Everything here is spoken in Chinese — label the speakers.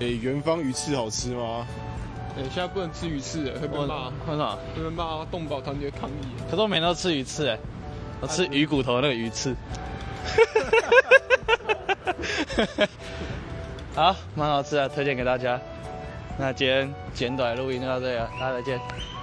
Speaker 1: 诶、元芳鱼翅好吃吗？
Speaker 2: 哎、现在不能吃鱼翅了，会被骂，
Speaker 3: 为什么？
Speaker 2: 会被骂动保团体抗议。
Speaker 3: 可是我每天都吃鱼翅哎，我吃鱼骨头那个鱼翅。好，蛮好吃的，推荐给大家。那今天简短的录音就到这里了，大家再见。